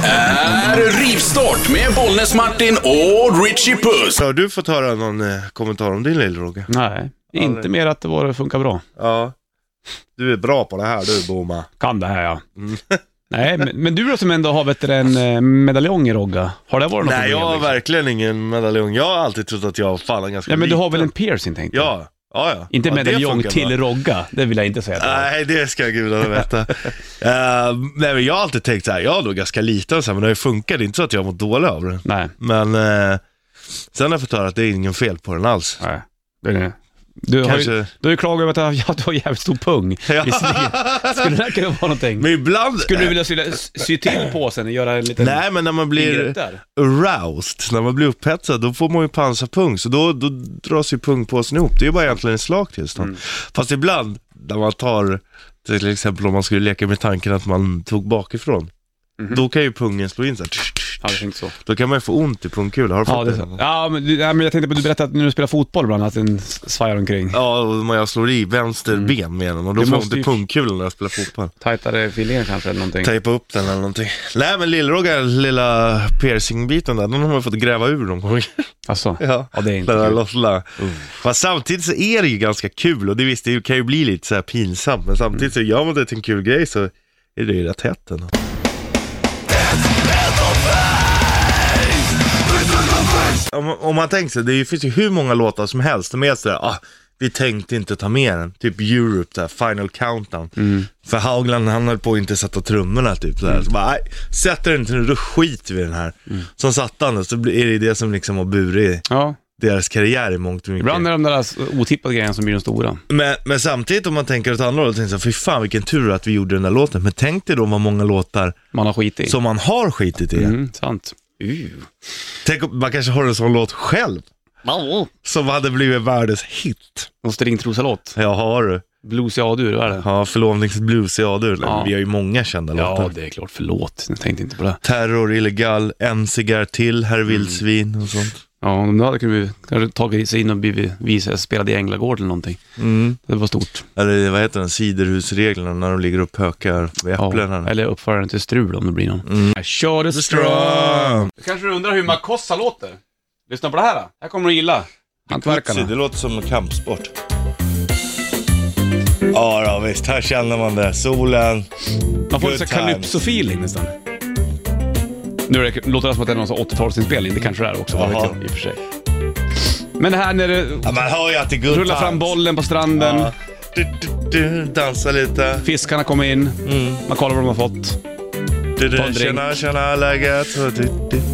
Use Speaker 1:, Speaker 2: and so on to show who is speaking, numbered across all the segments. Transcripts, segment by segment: Speaker 1: här är Rivstart med Bollnäs-Martin och Richie Puss.
Speaker 2: Har du fått höra någon eh, kommentar om din lill-Rogge?
Speaker 3: Nej, inte
Speaker 2: Aldrig.
Speaker 3: mer att det bara funkar bra.
Speaker 2: Ja. Du är bra på det här du, Boma.
Speaker 3: Kan det här ja.
Speaker 2: Mm.
Speaker 3: Nej, men, men du då som ändå har vet du, en eh, medaljong i Rogga, har det varit något
Speaker 2: Nej, jag
Speaker 3: problem?
Speaker 2: har
Speaker 3: liksom?
Speaker 2: verkligen ingen medaljong. Jag har alltid trott att jag fan är ganska
Speaker 3: Ja, men du har
Speaker 2: liten.
Speaker 3: väl en piercing tänkte jag?
Speaker 2: Ja, ja, ja.
Speaker 3: Inte
Speaker 2: ja, det
Speaker 3: medaljong
Speaker 2: funkar bra.
Speaker 3: till Rogga, det vill jag inte säga. att jag har.
Speaker 2: Nej, det ska gudarna veta. Eh, nej, men jag har alltid tänkt så här, jag är nog ganska liten så här, men det har ju funkat. Det är inte så att jag har mått dåligt av det.
Speaker 3: Nej.
Speaker 2: Men eh, sen har jag fått höra att det är ingen fel på den alls.
Speaker 3: Nej. Det är det. Du har, ju,
Speaker 2: Kanske-
Speaker 3: du har ju klagat över att jag- ja, du har jävligt stor pung.
Speaker 2: Ja.
Speaker 3: Visserligen. Skulle det här kunna vara någonting?
Speaker 2: Men ibland...
Speaker 3: Skulle du vilja sy, sy till påsen och göra en liten
Speaker 2: Nej, men när man blir
Speaker 3: ingrepp där?
Speaker 2: aroused, när man blir upphetsad, då får man ju pansarpung. Så då, då dras ju pungpåsen ihop. Det är ju bara egentligen ett slakt tillstånd.
Speaker 3: Mm.
Speaker 2: Fast ibland, när man tar, till exempel om man skulle leka med tanken att man tog bakifrån.
Speaker 3: Mhm.
Speaker 2: Då kan ju pungen slå in så här.
Speaker 3: Ja, det är inte så.
Speaker 2: Då kan man ju få ont i pungkulan. Har du
Speaker 3: Ja,
Speaker 2: fått
Speaker 3: det är så. Ja, men, du- ja, men jag tänkte på att du berättade att när du spelar fotboll ibland att den s- svajar omkring.
Speaker 2: Ja, och när jag slår i vänster ben med den och då
Speaker 3: Mm. Du
Speaker 2: får jag
Speaker 3: måste
Speaker 2: ont i
Speaker 3: ju-
Speaker 2: pungkulan när jag spelar fotboll.
Speaker 3: Tajtare fillingar kanske eller någonting.
Speaker 2: Tejpa upp den eller någonting. Nej men lillroggar, lilla piercingbiten där, den har man fått gräva ur någon gång.
Speaker 3: Alltså,
Speaker 2: Ja,
Speaker 3: ja, det är inte
Speaker 2: den där
Speaker 3: kul.
Speaker 2: lossna. Fast samtidigt så är det ju ganska kul och det visst, det kan ju bli lite så här pinsamt. Men samtidigt så gör man det till en kul grej så är det ju rätt hett ändå. Om, om man tänker sig, det är ju- finns ju hur många låtar som helst. De är sådär, ah, vi tänkte inte ta med den. Typ Europe där, Final Countdown.
Speaker 3: Mm.
Speaker 2: För Haugland han höll på att inte sätta trummorna typ sådär. Så bara, nej, sätter den inte nu, då skiter vi i den här.
Speaker 3: Mm.
Speaker 2: Som satte han det, så blir- är det ju det som liksom har burit
Speaker 3: Ja,
Speaker 2: deras karriär i mångt och mycket.
Speaker 3: ibland är de där s- otippade grejerna som blir de stora.
Speaker 2: Men, men samtidigt om man tänker åt andra hållet, tänker jag så här, fy fan vilken tur att vi gjorde den där låten. Men tänk dig då vad många låtar
Speaker 3: Man har skit i.
Speaker 2: som man har skitit i.
Speaker 3: Mm, sant. Uh.
Speaker 2: Tänk om man kanske har en sån låt själv, som hade blivit världens hit.
Speaker 3: Någon stringtrosalåt.
Speaker 2: Ja, har du.
Speaker 3: Blues i A-dur, vad är det?
Speaker 2: Ja, förlovningsblues i A-dur.
Speaker 3: Ja.
Speaker 2: Vi har ju många kända
Speaker 3: Ja,
Speaker 2: låtar.
Speaker 3: det är klart. Förlåt, jag tänkte inte på det.
Speaker 2: Terror, Illegal, En cigarr till, Herr
Speaker 3: Mm.
Speaker 2: vildsvin och sånt.
Speaker 3: Ja, om du hade kunnat kanske tagit sig in och blivit visa, spelade i Änglagård eller någonting. Det var stort.
Speaker 2: Eller vad heter den, Ciderhusreglerna när de ligger och pökar vid äpplena.
Speaker 3: eller uppföraren till Strul om det blir någon. Mm. Kör det
Speaker 2: Ström!
Speaker 3: Kanske du undrar hur Makossa låter? Lyssna på det här då. här kommer du gilla.
Speaker 2: Tutsi,
Speaker 3: Hantverkarna.
Speaker 2: det låter som en kampsport. Ja, då, visst. Här känner man det. Solen.
Speaker 3: Man får
Speaker 2: Good
Speaker 3: lite
Speaker 2: times.
Speaker 3: så här calypso-feeling nästan. Nu är det, låter det som att det är någon sån 80-talsinspelning, det kanske det är också, vad vet
Speaker 2: Jaha.
Speaker 3: jag, i och för sig. Men här när du
Speaker 2: Ja, man hör ju att det är good
Speaker 3: rullar fram
Speaker 2: times.
Speaker 3: bollen på stranden,
Speaker 2: Ja. Du, du, du, dansa lite.
Speaker 3: fiskarna kommer in,
Speaker 2: Mm.
Speaker 3: man kollar vad de har fått.
Speaker 2: Du,
Speaker 3: Ta
Speaker 2: du,
Speaker 3: en drink.
Speaker 2: tjena, tjena, läget? Du, du,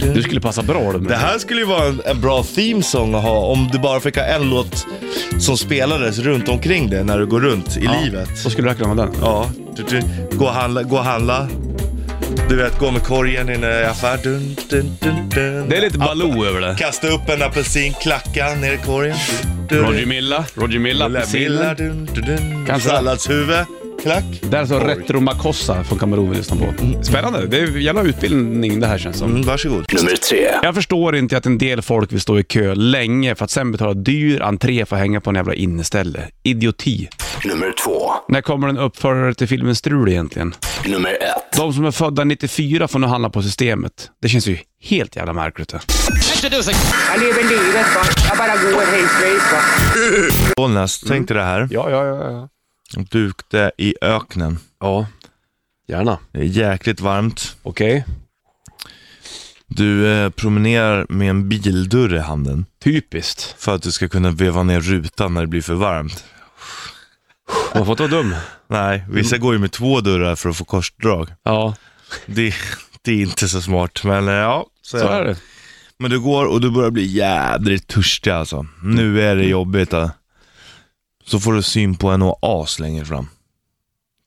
Speaker 3: Du
Speaker 2: du.
Speaker 3: skulle passa bra du.
Speaker 2: Det här skulle ju vara en, en bra themesång att ha om du bara fick ha en låt som spelades runt omkring dig när du går runt i livet.
Speaker 3: Då skulle du verkligen ha den.
Speaker 2: Ja, du, du, gå och handla, gå och handla. Du vet, gå med korgen in i affär. Dun, dun, dun, dun.
Speaker 3: Det är lite Baloo över det.
Speaker 2: Kasta upp en apelsin, klacka ner i korgen. Du-
Speaker 3: Roger Milla, Roger Milla,
Speaker 2: Lilla Milla,
Speaker 3: apelsiner.
Speaker 2: dun, dun, dun.
Speaker 3: Kanske.
Speaker 2: Salladshuvud, klack.
Speaker 3: Där så Retro Makossa från Kamerun vi lyssnar på. Spännande, det är jävla utbildning det här känns som.
Speaker 2: Mm, varsågod.
Speaker 1: Nummer tre.
Speaker 3: Jag förstår inte att en del folk vill stå i kö länge för att sen betala dyr entré för att hänga på en jävla inneställe. Idioti.
Speaker 1: Nummer två.
Speaker 3: När kommer en uppförare till filmen Strul egentligen?
Speaker 1: Nummer ett.
Speaker 3: De som är födda 94 får nu handla på systemet. Det känns ju helt jävla märkligt. det.
Speaker 4: Jag lever livet va. Jag bara går hej svejs va.
Speaker 2: Bollnäs,
Speaker 3: Mm.
Speaker 2: tänk dig det här.
Speaker 3: Ja, ja, ja. ja.
Speaker 2: Du ute i öknen. Ja.
Speaker 3: Gärna.
Speaker 2: Det är jäkligt varmt.
Speaker 3: Okej.
Speaker 2: Du eh, promenerar med en bildörr i handen
Speaker 3: Typiskt.
Speaker 2: för att du ska kunna veva ner rutan när det blir för varmt.
Speaker 3: Man får inte vara dum.
Speaker 2: Nej,
Speaker 3: Mm.
Speaker 2: vissa går ju med två dörrar för att få korsdrag.
Speaker 3: Ja,
Speaker 2: Det, det är inte så smart, men eh, ja.
Speaker 3: så är det.
Speaker 2: Men du går och du börjar bli jädrigt törstig alltså.
Speaker 3: Mm.
Speaker 2: Nu är det jobbigt. Då. Så får du syn på en oas längre fram.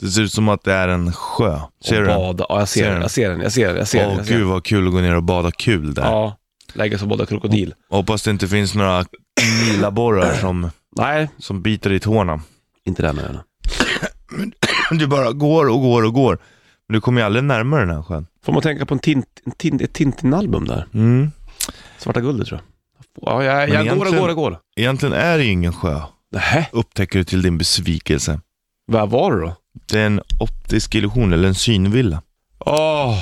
Speaker 2: Det ser ut som att det är en sjö. Ser
Speaker 3: och
Speaker 2: du den?
Speaker 3: bada. Ja, jag ser,
Speaker 2: Ser du
Speaker 3: den.
Speaker 2: den?
Speaker 3: Jag ser den. Jag ser den. Jag ser den.
Speaker 2: Åh
Speaker 3: Jag ser
Speaker 2: gud
Speaker 3: den.
Speaker 2: vad kul att gå ner och bada kul där.
Speaker 3: Ja. Lägga sig och bada krokodil.
Speaker 2: Hoppas det inte finns några milaborrar som,
Speaker 3: Nej,
Speaker 2: som biter i tårna.
Speaker 3: inte det med
Speaker 2: Du bara går och går och går. Men du kommer ju aldrig närmare den här sjön.
Speaker 3: Får man tänka på en tint, en tint, ett Tintin-album där?
Speaker 2: Mm.
Speaker 3: Svarta guldet tror jag. Ja, jag,
Speaker 2: Men
Speaker 3: jag går och
Speaker 2: egentligen-
Speaker 3: går och går.
Speaker 2: Egentligen är det ju ingen sjö,
Speaker 3: Nähä,
Speaker 2: upptäcker du till din besvikelse.
Speaker 3: vad var det då?
Speaker 2: Det är en optisk illusion, eller en synvilla.
Speaker 3: Åh!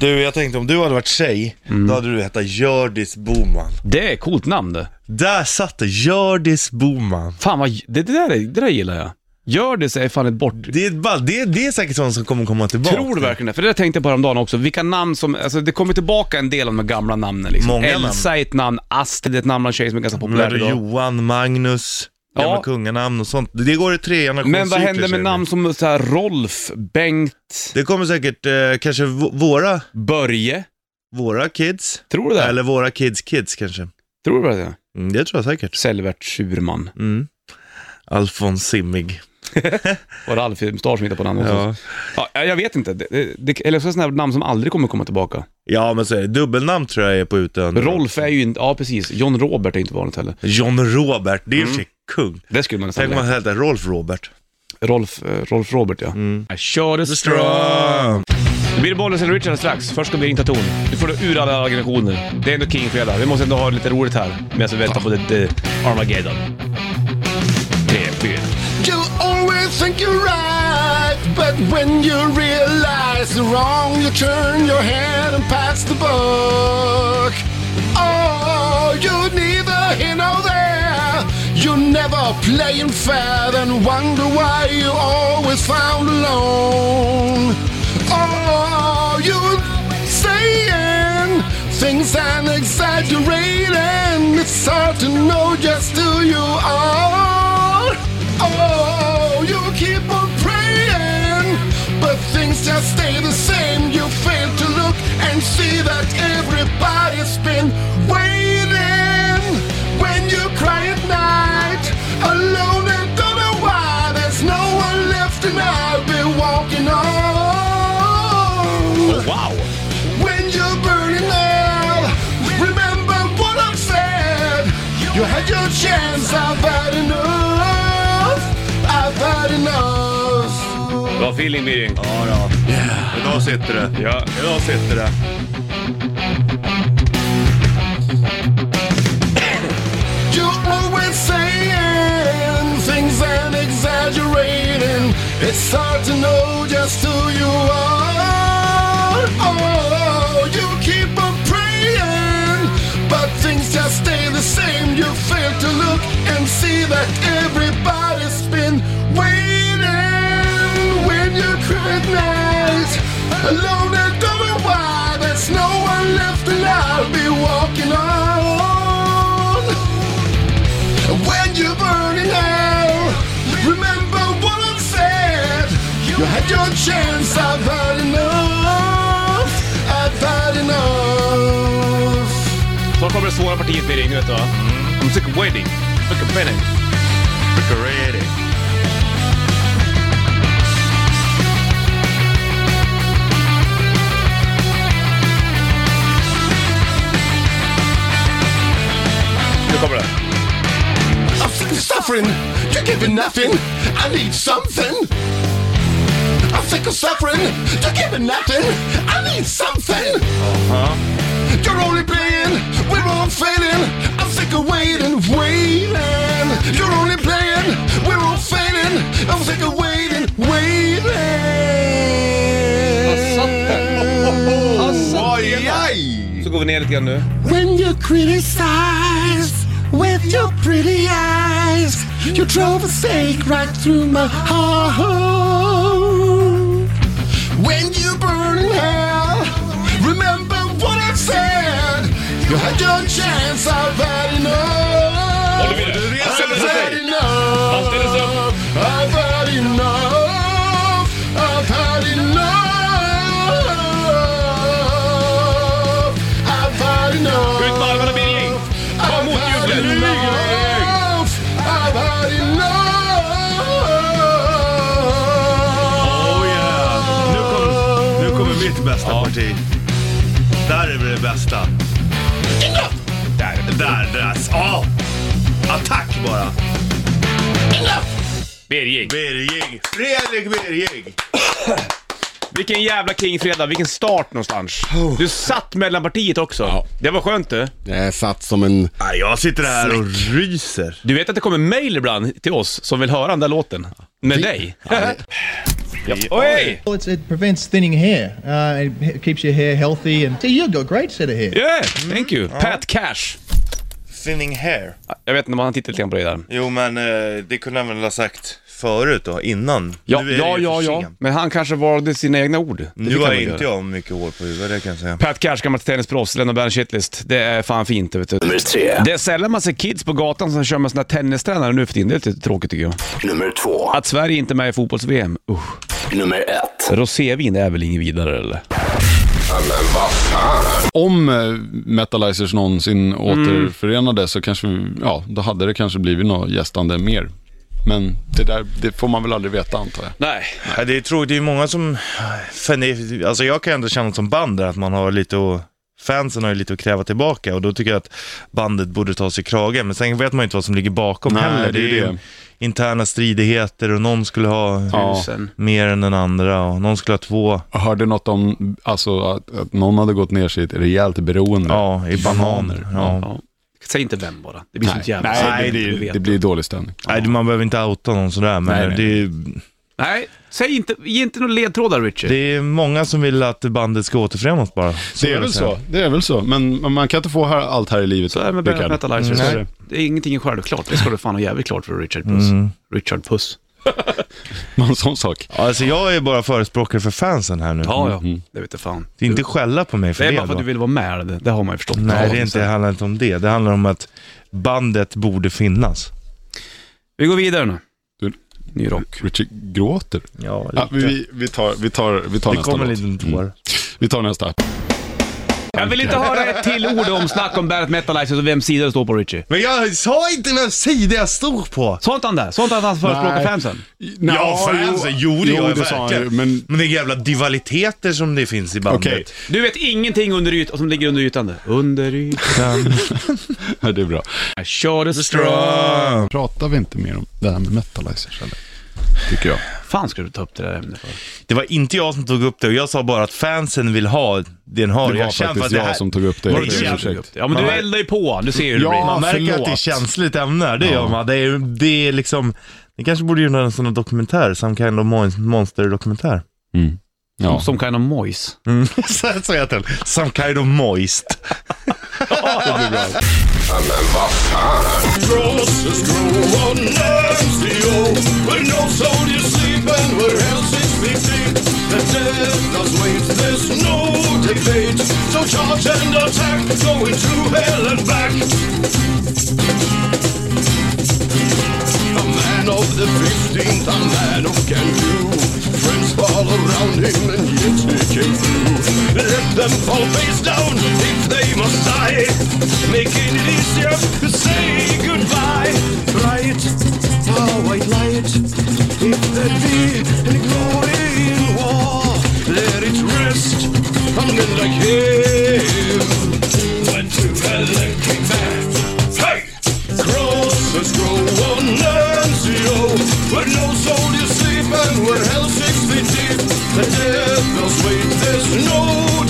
Speaker 2: Du, jag tänkte om du hade varit tjej,
Speaker 3: Mm.
Speaker 2: då hade du hetat Hjördis Boman.
Speaker 3: Det är ett coolt namn det.
Speaker 2: Där satt det, Hjördis Boman.
Speaker 3: Fan vad, det, det, där, är- det där gillar jag. Gör det så är fan ett bort...
Speaker 2: Det är, ett ball- det, det är säkert sånt som kommer komma tillbaka.
Speaker 3: Tror du verkligen det? För det där tänkte jag på häromdagen också. Vilka namn som, alltså det kommer tillbaka en del av de gamla namnen liksom.
Speaker 2: Många namn.
Speaker 3: Elsa är ett namn, Astrid är ett namn bland tjejer som är ganska populärt
Speaker 2: Lärde
Speaker 3: idag.
Speaker 2: Johan, Magnus,
Speaker 3: Ja.
Speaker 2: gamla kunganamn och sånt. Det går i tre generationscykler.
Speaker 3: Men vad händer
Speaker 2: säger
Speaker 3: med
Speaker 2: vi.
Speaker 3: namn som så här Rolf, Bengt,
Speaker 2: Det kommer säkert eh, kanske v- våra,
Speaker 3: Börje?
Speaker 2: våra kids.
Speaker 3: Tror du det?
Speaker 2: Eller våra kids kids kanske.
Speaker 3: Tror du det?
Speaker 2: Mm, det tror jag säkert.
Speaker 3: Selvert Schurman.
Speaker 2: Mm. Alfons Simmig.
Speaker 3: Var det Alf i mustasch som hittade på namn också? Ja. ja, jag vet inte. Det, det- det, eller så är det sådana här namn som aldrig kommer komma tillbaka.
Speaker 2: Ja, men så är det. Dubbelnamn tror jag är på utön.
Speaker 3: Mm. Rolf är ju inte, ja precis. John Robert är inte vanligt heller.
Speaker 2: John Robert, det är ju mm. kung.
Speaker 3: Det skulle man nästan
Speaker 2: Tänk om man
Speaker 3: lära.
Speaker 2: hette Rolf Robert.
Speaker 3: Rolf, eh, Rolf Robert ja. I Kör det
Speaker 2: Ström!
Speaker 3: Det blir Bollnäs eller Richard strax. Först ska vi ringa ton. Nu får du ur alla aggressioner. Det är ändå King-fredag. Vi måste ändå ha lite roligt här medan vi väntar på lite eh, Armageddon. Tre, fyra.
Speaker 5: You always think you're right, but when you realize you're wrong, you turn your head and pass the buck. Oh, you're neither here nor there. You're never playing fair, then wonder why you always found alone. Oh, you're saying things and exaggerating. It's hard to know just who you are. Oh, you keep on praying, but things just stay the same. You fail to look and see that everybody's been waiting. When you cry at night, alone and don't know why, there's no one left, and I'll be walking on.
Speaker 3: Wow!
Speaker 5: When you're burning out, remember what I've said. You had your chance, I've had enough. I've had enough.
Speaker 3: Bra feeling blir
Speaker 2: Ja,
Speaker 3: det.
Speaker 2: då. Idag sitter det.
Speaker 3: Ja.
Speaker 2: Idag sitter det.
Speaker 5: You're always saying things and exaggerating. It's hard to know just who you are. Oh, you keep on praying, but things just stay the same. You fail to look and see that everybody's been waiting when you cry at night. Alone and don't know why, there's no one left, and I'll be walking on. When you're burning out, remember what I've said. You had your chance, I've had enough. I've had enough.
Speaker 3: Snart kommer det svåra partiet blir det, vet du va? I'm sick of waiting. Sick of waiting. Nu kommer det.
Speaker 5: I'm sick of suffering. You're giving nothing. I need something. I'm sick of suffering. You're giving nothing. I need something. You're only playing, we're all failing. I'm sick of waiting, waiting. You're only playing, we're all failing. I'm sick of waiting, waiting.
Speaker 3: Så går vi ner lite grann nu.
Speaker 5: When you criticize with your pretty eyes, you drove a stake right through my heart. When you burn in hell, remember what I've said. You had your chance, I've had enough. I've had enough. I've had enough. I've had enough. I've had enough.
Speaker 3: Ut med armarna, Billing! Ta emot
Speaker 5: I've had
Speaker 3: jublet!
Speaker 5: enough. I've had enough.
Speaker 2: Oh yeah! Nu, kom, nu kommer mitt bästa parti. Där är det bästa.
Speaker 5: Enough.
Speaker 2: Där, där, där. Ja! Attack bara.
Speaker 5: Enough.
Speaker 3: Birging.
Speaker 2: Birging. Fredrik Birging.
Speaker 3: Vilken jävla King-fredag, vilken start någonstans.
Speaker 2: Oh.
Speaker 3: Du satt mellan partiet också. Det var skönt du.
Speaker 5: Jag satt som en...
Speaker 2: Nej, Jag sitter här och ryser.
Speaker 3: Du vet att det kommer mail ibland till oss som vill höra den där låten. Med dig. Yep. Oj!
Speaker 6: Well, it's, it prevents thinning hair. Uh, it h- keeps your hair healthy, and see, you've got a great set of hair.
Speaker 3: Yeah, thank you.
Speaker 2: Mm.
Speaker 3: Pat Cash.
Speaker 2: Thinning hair.
Speaker 3: Jag vet inte om han tittar lite grann på dig där.
Speaker 2: Jo men eh, det kunde han väl ha sagt förut då, innan.
Speaker 3: Ja,
Speaker 2: Nu är det
Speaker 3: ja,
Speaker 2: ju
Speaker 3: ja,
Speaker 2: för
Speaker 3: ja.
Speaker 2: sent.
Speaker 3: Men han kanske valde sina egna ord. Det
Speaker 2: Nu
Speaker 3: fick han
Speaker 2: har
Speaker 3: väl
Speaker 2: inte
Speaker 3: göra.
Speaker 2: jag mycket hår på huvudet, det kan jag säga.
Speaker 3: Pat Cash, gammalt tennisproffs, Lennart Bern shitlist. Det är fan fint vet du.
Speaker 1: Nummer tre.
Speaker 3: Det är sällan man ser kids på gatan som kör med sina tennistränare nu för tiden. Det är lite tråkigt tycker jag.
Speaker 1: Nummer två.
Speaker 3: Att Sverige inte är med i fotbolls-VM, usch.
Speaker 1: Nummer ett.
Speaker 3: Rosévin är väl inget vidare eller?
Speaker 7: Om eh, Metalizers någonsin
Speaker 2: Mm.
Speaker 7: återförenade så kanske, vi- ja, då hade det kanske blivit något gästande mer. Men det där, det får man väl aldrig veta antar jag.
Speaker 3: Nej.
Speaker 2: Ja, det är tråkigt, det är många som... Fan, det är- Alltså jag kan ändå känna som band där att man har lite att... Fansen har ju lite att kräva tillbaka och då tycker jag att bandet borde ta sig i kragen. Men sen vet man ju inte vad som ligger bakom
Speaker 7: Nej,
Speaker 2: heller.
Speaker 7: det är
Speaker 2: ju
Speaker 7: det.
Speaker 2: interna stridigheter och någon skulle ha
Speaker 7: Ja.
Speaker 2: mer än den andra och någon skulle ha två.
Speaker 7: Jag hörde något om alltså, att, att någon hade gått ner sig i ett rejält beroende.
Speaker 2: Ja, i bananer. Ja.
Speaker 3: Ja. Säg inte vem bara. Det blir sånt
Speaker 7: Nej,
Speaker 3: jävla...
Speaker 7: nej, det,
Speaker 3: du vet.
Speaker 7: blir, det blir dålig stämning.
Speaker 2: Nej, man behöver inte outa någon sådär, men
Speaker 7: Nej, nej.
Speaker 2: det är ju
Speaker 3: Nej, säg inte, ge inte några ledtrådar Richard.
Speaker 2: Det är många som vill att bandet ska återförenas bara. Så
Speaker 7: Det är
Speaker 2: vill
Speaker 7: väl
Speaker 2: jag säga.
Speaker 7: så. Det är väl så. Men men man kan inte få här, allt här i livet.
Speaker 3: Så är det med Brett
Speaker 7: Rickard.
Speaker 3: Metalizers.
Speaker 2: Mm, nej.
Speaker 3: Det är ingenting är självklart. Det ska du fan ha jävligt klart för Richard Puss. Richard Puss.
Speaker 7: Någon sån sak.
Speaker 2: Alltså jag är bara förespråkare för fansen här nu.
Speaker 3: Ja, ja. Mm. Det vet jag fan.
Speaker 2: Det är inte skälla på mig för
Speaker 3: Det
Speaker 2: det.
Speaker 3: är bara för
Speaker 2: då.
Speaker 3: att du vill vara med. Det, det har man ju förstått.
Speaker 2: Nej,
Speaker 3: Ja,
Speaker 2: det, är
Speaker 3: så.
Speaker 2: inte, det handlar inte om det. Det handlar om att bandet borde finnas.
Speaker 3: Vi går vidare nu.
Speaker 7: Du-
Speaker 3: Ny rock.
Speaker 7: Richard gråter.
Speaker 2: Ja,
Speaker 7: Ja, vi, vi tar, vi tar, vi tar
Speaker 2: det
Speaker 7: nästa
Speaker 2: kommer en
Speaker 7: låt.
Speaker 2: liten tår.
Speaker 7: Vi tar nästa.
Speaker 3: Jag vill inte höra ett till ord om snack om Brett Metalizers och vems sida du står på Richie.
Speaker 2: Men jag sa inte vem sida jag stod på!
Speaker 3: Sånt han där. Sånt att han förespråkar
Speaker 7: Nej.
Speaker 3: fansen.
Speaker 2: Ja, fansen. Jo, det gör jag
Speaker 7: sa han ju,
Speaker 2: verkligen.
Speaker 7: Men
Speaker 2: Men det är jävla divaliteter som det finns i bandet.
Speaker 7: okej.
Speaker 3: Du vet ingenting under ytan, som ligger under ytan. där. Under ytan.
Speaker 7: Ja, det är bra.
Speaker 3: I shot a straw.
Speaker 7: Pratar vi inte mer om det här med metalizers eller? Tycker jag.
Speaker 3: Fan ska du ta upp det där ämnet för?
Speaker 2: Det var inte jag som tog upp det och jag sa bara att fansen vill ha det den har.
Speaker 7: Det var
Speaker 2: jag känner
Speaker 7: faktiskt
Speaker 2: att det här...
Speaker 7: jag som tog upp det.
Speaker 2: Var
Speaker 7: Jag
Speaker 2: det
Speaker 7: ber om
Speaker 2: jag
Speaker 7: ursäkt.
Speaker 3: Ja men du
Speaker 2: Man-
Speaker 3: eldar ju på. Du ser ju hur det
Speaker 7: Ja,
Speaker 3: blir.
Speaker 2: Man märker
Speaker 7: förlåt.
Speaker 2: att det är känsligt ämne, det gör man. Det är, det är liksom, det kanske borde göra en sån här dokumentär, Some kind of mon- monster-dokumentär.
Speaker 7: Ja.
Speaker 3: Som kind of moist.
Speaker 2: så så heter den. Some kind of moist.
Speaker 1: Oh,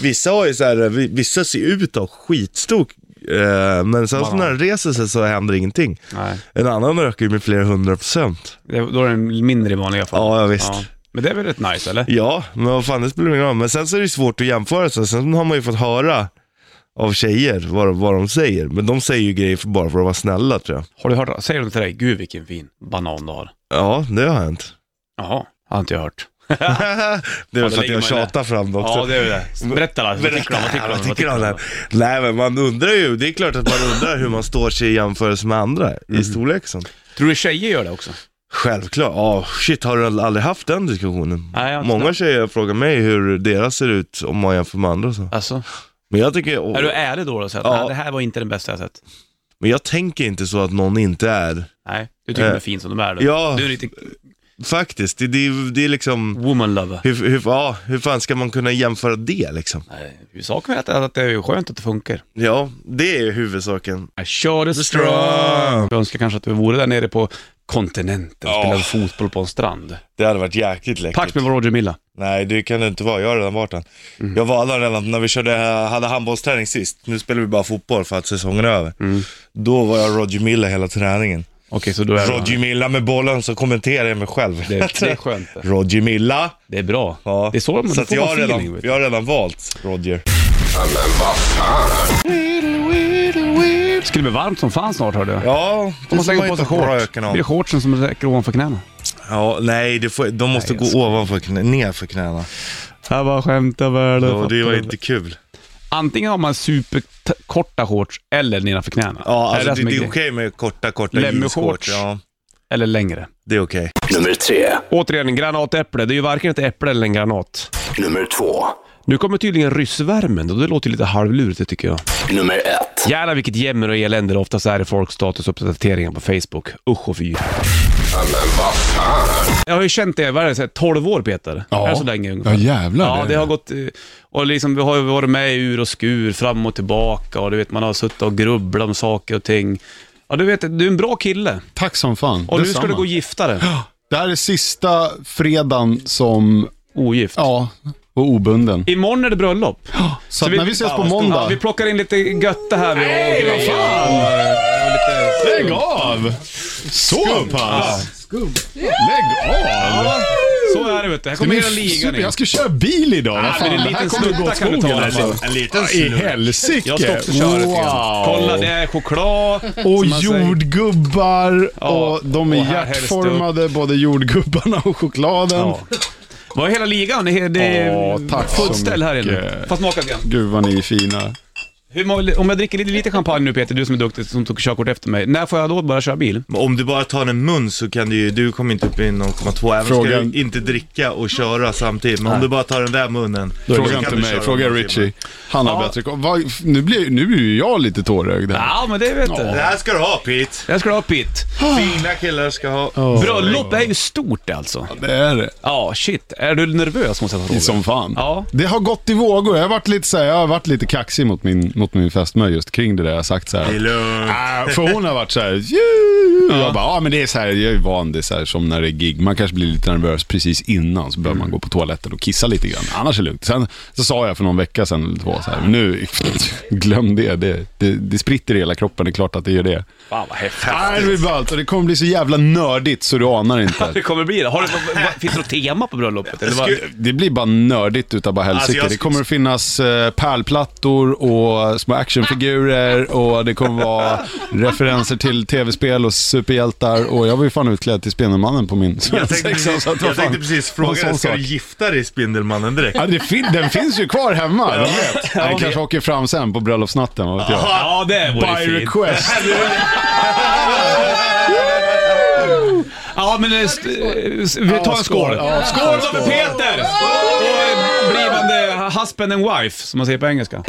Speaker 2: Vissa har ju så här, vi- vissa ser ut att ha skitstor, eh, men sen så när den reser sig så händer ingenting.
Speaker 3: Nej.
Speaker 2: En annan ökar ju med flera hundra procent.
Speaker 3: Det, då är den mindre i vanliga fall.
Speaker 2: Ja, ja visst.
Speaker 3: Ja.
Speaker 2: Ja.
Speaker 3: Men det är väl rätt nice eller?
Speaker 2: men vad fan det spelar ingen roll. Men sen så är det ju svårt att jämföra sig. Sen har man ju fått höra av tjejer vad, de- vad de säger. Men de säger ju grejer för, bara för att vara snälla tror jag.
Speaker 3: Har du hört, säger de till dig, gud vilken fin banan du har?
Speaker 2: Ja, det har hänt.
Speaker 3: Jaha, har inte jag hört.
Speaker 2: det är
Speaker 3: då
Speaker 2: väl för att
Speaker 3: lägger man
Speaker 2: jag tjatar
Speaker 3: det.
Speaker 2: fram det också.
Speaker 3: Ja, det är det. Berätta då. Vad tycker du om- vad tycker du om-
Speaker 2: Vad tycker du om
Speaker 3: vad tycker
Speaker 2: den? Nej men man undrar ju, det är klart att man undrar hur man står sig i jämförelse med andra
Speaker 3: Mm.
Speaker 2: i storlek sånt.
Speaker 3: Tror du tjejer gör det också?
Speaker 2: Självklart, ja shit har du aldrig haft den diskussionen?
Speaker 3: Nej, jag har inte
Speaker 2: Många tjejer frågar mig hur deras ser ut om man jämför med andra och så.
Speaker 3: Alltså,
Speaker 2: Men jag tycker, åh,
Speaker 3: är du ärlig då och säger att
Speaker 2: Ja.
Speaker 3: nej, det här var inte den bästa jag sett?
Speaker 2: men jag tänker inte så att någon inte är.
Speaker 3: Nej, du tycker de är
Speaker 2: Eh.
Speaker 3: fin som de är. Då.
Speaker 2: Ja.
Speaker 3: Du är lite
Speaker 2: Faktiskt, det, det, är- det är liksom...
Speaker 3: Woman love.
Speaker 2: Hur, hur, ja, hur fan ska man kunna jämföra det liksom?
Speaker 3: Nej, Huvudsaken är att, att det är skönt att det funkar.
Speaker 2: Ja, det är ju huvudsaken.
Speaker 3: I shot is strong. Jag önskar kanske att vi vore där nere på kontinenten och spelade fotboll på en strand.
Speaker 2: Det hade varit jäkligt läckert.
Speaker 3: Pax med Roger Milla.
Speaker 2: Nej, det kan det inte vara. Jag har redan varit den.
Speaker 3: Mm.
Speaker 2: Jag var där redan när vi körde, hade handbollsträning sist. Nu spelar vi bara fotboll för att säsongen är över.
Speaker 3: Mm.
Speaker 2: Då var jag Roger Miller hela träningen.
Speaker 3: Okej, så då är
Speaker 2: Roger Milla med bollen så kommenterar jag mig själv.
Speaker 3: det, det. Det är skönt. det.
Speaker 2: Roger Milla.
Speaker 3: Det är bra. Det är så man
Speaker 2: så
Speaker 3: så
Speaker 2: att
Speaker 3: får
Speaker 2: jag,
Speaker 3: man
Speaker 2: har
Speaker 3: feeling.
Speaker 2: redan,
Speaker 3: vet du.
Speaker 2: jag har redan valt Roger.
Speaker 3: Det skulle bli varmt som fan snart hörde jag.
Speaker 2: Ja,
Speaker 3: Får man slänga på sig shorts?
Speaker 2: röken
Speaker 3: Det
Speaker 2: av.
Speaker 3: blir shortsen som räcker ovanför knäna.
Speaker 2: Ja, nej, det får, de måste gå ovanför knä, ner för knäna.
Speaker 3: Jag bara skämtar väl.
Speaker 2: Ja, det var inte kul.
Speaker 3: Antingen har man superkorta shorts eller nedanför knäna.
Speaker 2: Ja,
Speaker 3: det
Speaker 2: alltså,
Speaker 3: är
Speaker 2: det,
Speaker 3: som
Speaker 2: det är
Speaker 3: grej.
Speaker 2: okej med korta, korta
Speaker 3: Lämmer
Speaker 2: jeansshorts.
Speaker 3: shorts.
Speaker 2: Ja,
Speaker 3: Eller längre.
Speaker 2: det är okej.
Speaker 1: Nummer tre.
Speaker 3: Återigen, en granatäpple. Det är ju varken ett äpple eller en granat.
Speaker 1: Nummer två.
Speaker 3: Nu kommer tydligen ryssvärmen och det låter ju lite halvlurigt det tycker jag.
Speaker 1: Nummer ett.
Speaker 3: Jävlar vilket jämmer och elände det oftast är i folks statusuppdateringar på Facebook. Usch och fy. Jag har ju känt det, vad är det, så här, 12 år Peter?
Speaker 5: Ja.
Speaker 3: Är det så länge ungefär?
Speaker 5: Ja, jävlar.
Speaker 3: Ja, det har gått... eh, Och liksom, vi har ju varit med i ur och skur, fram och tillbaka och du vet, man har suttit och grubblat om saker och ting. Ja, du vet, du är en bra kille.
Speaker 5: Tack som fan.
Speaker 3: Och nu ska
Speaker 5: Detsamma.
Speaker 3: du gå och gifta dig.
Speaker 5: Det här är sista fredagen som,
Speaker 3: Ogift.
Speaker 5: ja, och obunden.
Speaker 3: Imorgon är det bröllop.
Speaker 5: Så, att när vi ses på
Speaker 3: Ja,
Speaker 5: måndag.
Speaker 3: vi plockar in lite götte här. Nej, vad fan!
Speaker 5: Lägg av! Så pass? Lägg av!
Speaker 3: Så är det vet du. Här
Speaker 5: Det
Speaker 3: kommer
Speaker 5: blir
Speaker 3: hela ligan
Speaker 5: super-
Speaker 3: in.
Speaker 5: Jag ska köra bil idag. Vad fan,
Speaker 3: men en
Speaker 5: det här
Speaker 3: liten
Speaker 5: kommer
Speaker 3: snutta
Speaker 5: gå åt
Speaker 3: kan du ta i
Speaker 5: skogen,
Speaker 3: alla fall.
Speaker 5: alltså.
Speaker 2: En liten
Speaker 5: I helsike!
Speaker 3: Jag har stått och kört lite grann. Kolla, det är choklad.
Speaker 5: Och
Speaker 3: som man säger.
Speaker 5: jordgubbar
Speaker 3: Ja,
Speaker 5: och de är
Speaker 3: och här
Speaker 5: hjärtformade, både jordgubbarna och chokladen.
Speaker 3: Ja. Vad är hela ligan? Det är, det är
Speaker 5: Ja, tack så
Speaker 3: fullt ställ här inne.
Speaker 5: mycket.
Speaker 3: Fast smaka lite grann.
Speaker 5: Gud vad ni är fina.
Speaker 3: Hur må- Om jag dricker lite, lite champagne nu Peter, du som är duktig som tog körkort efter mig. När får jag då börja köra
Speaker 5: Mm.
Speaker 3: bil?
Speaker 2: Men Om du bara tar en mun så kan du ju, du kommer inte upp i 0,2. Även ska
Speaker 5: Frågan-
Speaker 2: du inte dricka och köra samtidigt. Men om du bara tar den där munnen. så
Speaker 5: Fråga
Speaker 2: kan
Speaker 5: inte
Speaker 2: du
Speaker 5: mig,
Speaker 2: köra
Speaker 5: fråga
Speaker 2: några timmar.
Speaker 5: Richie. Han har
Speaker 3: Ja.
Speaker 5: bättre koll. Vad- f- Nu blir, nu blir ju jag lite tårögd här.
Speaker 3: Ja, men det vet du.
Speaker 2: Det här ska du ha Pete.
Speaker 3: Jag ska ha upp hit.
Speaker 5: Ah.
Speaker 2: Fina killar ska ha.
Speaker 3: Bröllop är ju stort alltså.
Speaker 5: Det är det.
Speaker 3: Ja, shit. Är du nervös måste jag fråga?
Speaker 5: Som fan.
Speaker 3: Ja.
Speaker 5: Det har gått i vågor. Jag har varit lite, så här, jag har varit lite kaxig mot min, mot min fästmö just kring det där. Jag har sagt så här.
Speaker 2: Det är lugnt.
Speaker 5: Ah, för hon har varit så här, "Ju!" Och jag bara, ja ah, men det är så här, jag är van, det är så här som när det är gig. Man kanske blir lite nervös precis innan, så behöver man gå på toaletten och kissa lite grann. Annars är det lugnt. Sen så sa jag för någon vecka sedan, eller två, så här, nu, glöm det. Det, det. det spritter i hela kroppen, det är klart att det gör det.
Speaker 3: Fan vad häftigt.
Speaker 5: Nej, det blir ballt och det kommer bli så jävla nördigt så du anar inte.
Speaker 3: Det kommer bli det. Har du, vad- vad- finns det något tema på bröllopet? Eller vad?
Speaker 5: Det blir bara nördigt utav bara helsike.
Speaker 2: Alltså, jag-
Speaker 5: Det kommer att finnas eh, pärlplattor och små actionfigurer och det kommer vara referenser till tv-spel och superhjältar. Och jag var ju fan utklädd till Spindelmannen på min
Speaker 2: Jag tänkte,
Speaker 5: svensexa.
Speaker 2: precis,
Speaker 5: så att vad
Speaker 2: jag
Speaker 5: fan,
Speaker 2: tänkte precis
Speaker 5: vad
Speaker 2: fråga
Speaker 5: sån
Speaker 2: dig, ska
Speaker 5: sak.
Speaker 2: du gifta dig i Spindelmannen direkt?
Speaker 5: Ja, det fin- den finns ju kvar hemma, vem vet? Den kanske åker fram sen på bröllopsnatten, vad vet jag.
Speaker 3: Ja, det vore
Speaker 5: By
Speaker 3: fint.
Speaker 5: request.
Speaker 3: Ja, men eh, st- eh, s- vi tar en skål.
Speaker 5: skål. Ja,
Speaker 3: Skål då för Peter! Och eh, blivande husband and wife, som man säger på engelska.